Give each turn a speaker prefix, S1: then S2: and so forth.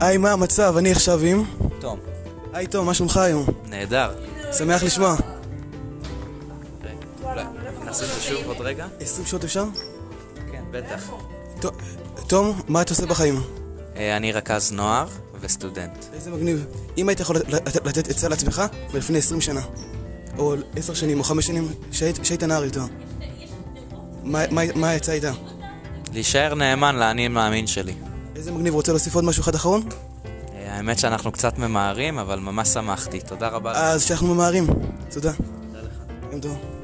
S1: היי, מה המצב? אני עכשיו עם...
S2: תום.
S1: היי, תום, מה שלומך היום?
S2: נהדר.
S1: שמח לשמוע.
S2: אולי נעשה את זה שוב עוד רגע?
S1: 20 שעות אפשר?
S2: כן, בטח.
S1: ת- תום, מה אתה עושה בחיים?
S2: אה, אני רכז נוער וסטודנט.
S1: איזה מגניב. אם היית יכול לת- לת- לתת עצה לעצמך מלפני 20 שנה, או 10 שנים או 5 שנים, שהיית שהיית נער יותר, מה- מה- מה העצה הייתה?
S2: להישאר נאמן לאני מאמין שלי.
S1: איזה מגניב, רוצה להוסיף עוד משהו אחד אחרון?
S2: אה, האמת שאנחנו קצת ממהרים, אבל ממש שמחתי. תודה רבה.
S1: אז שאנחנו ממהרים. תודה. יום טוב.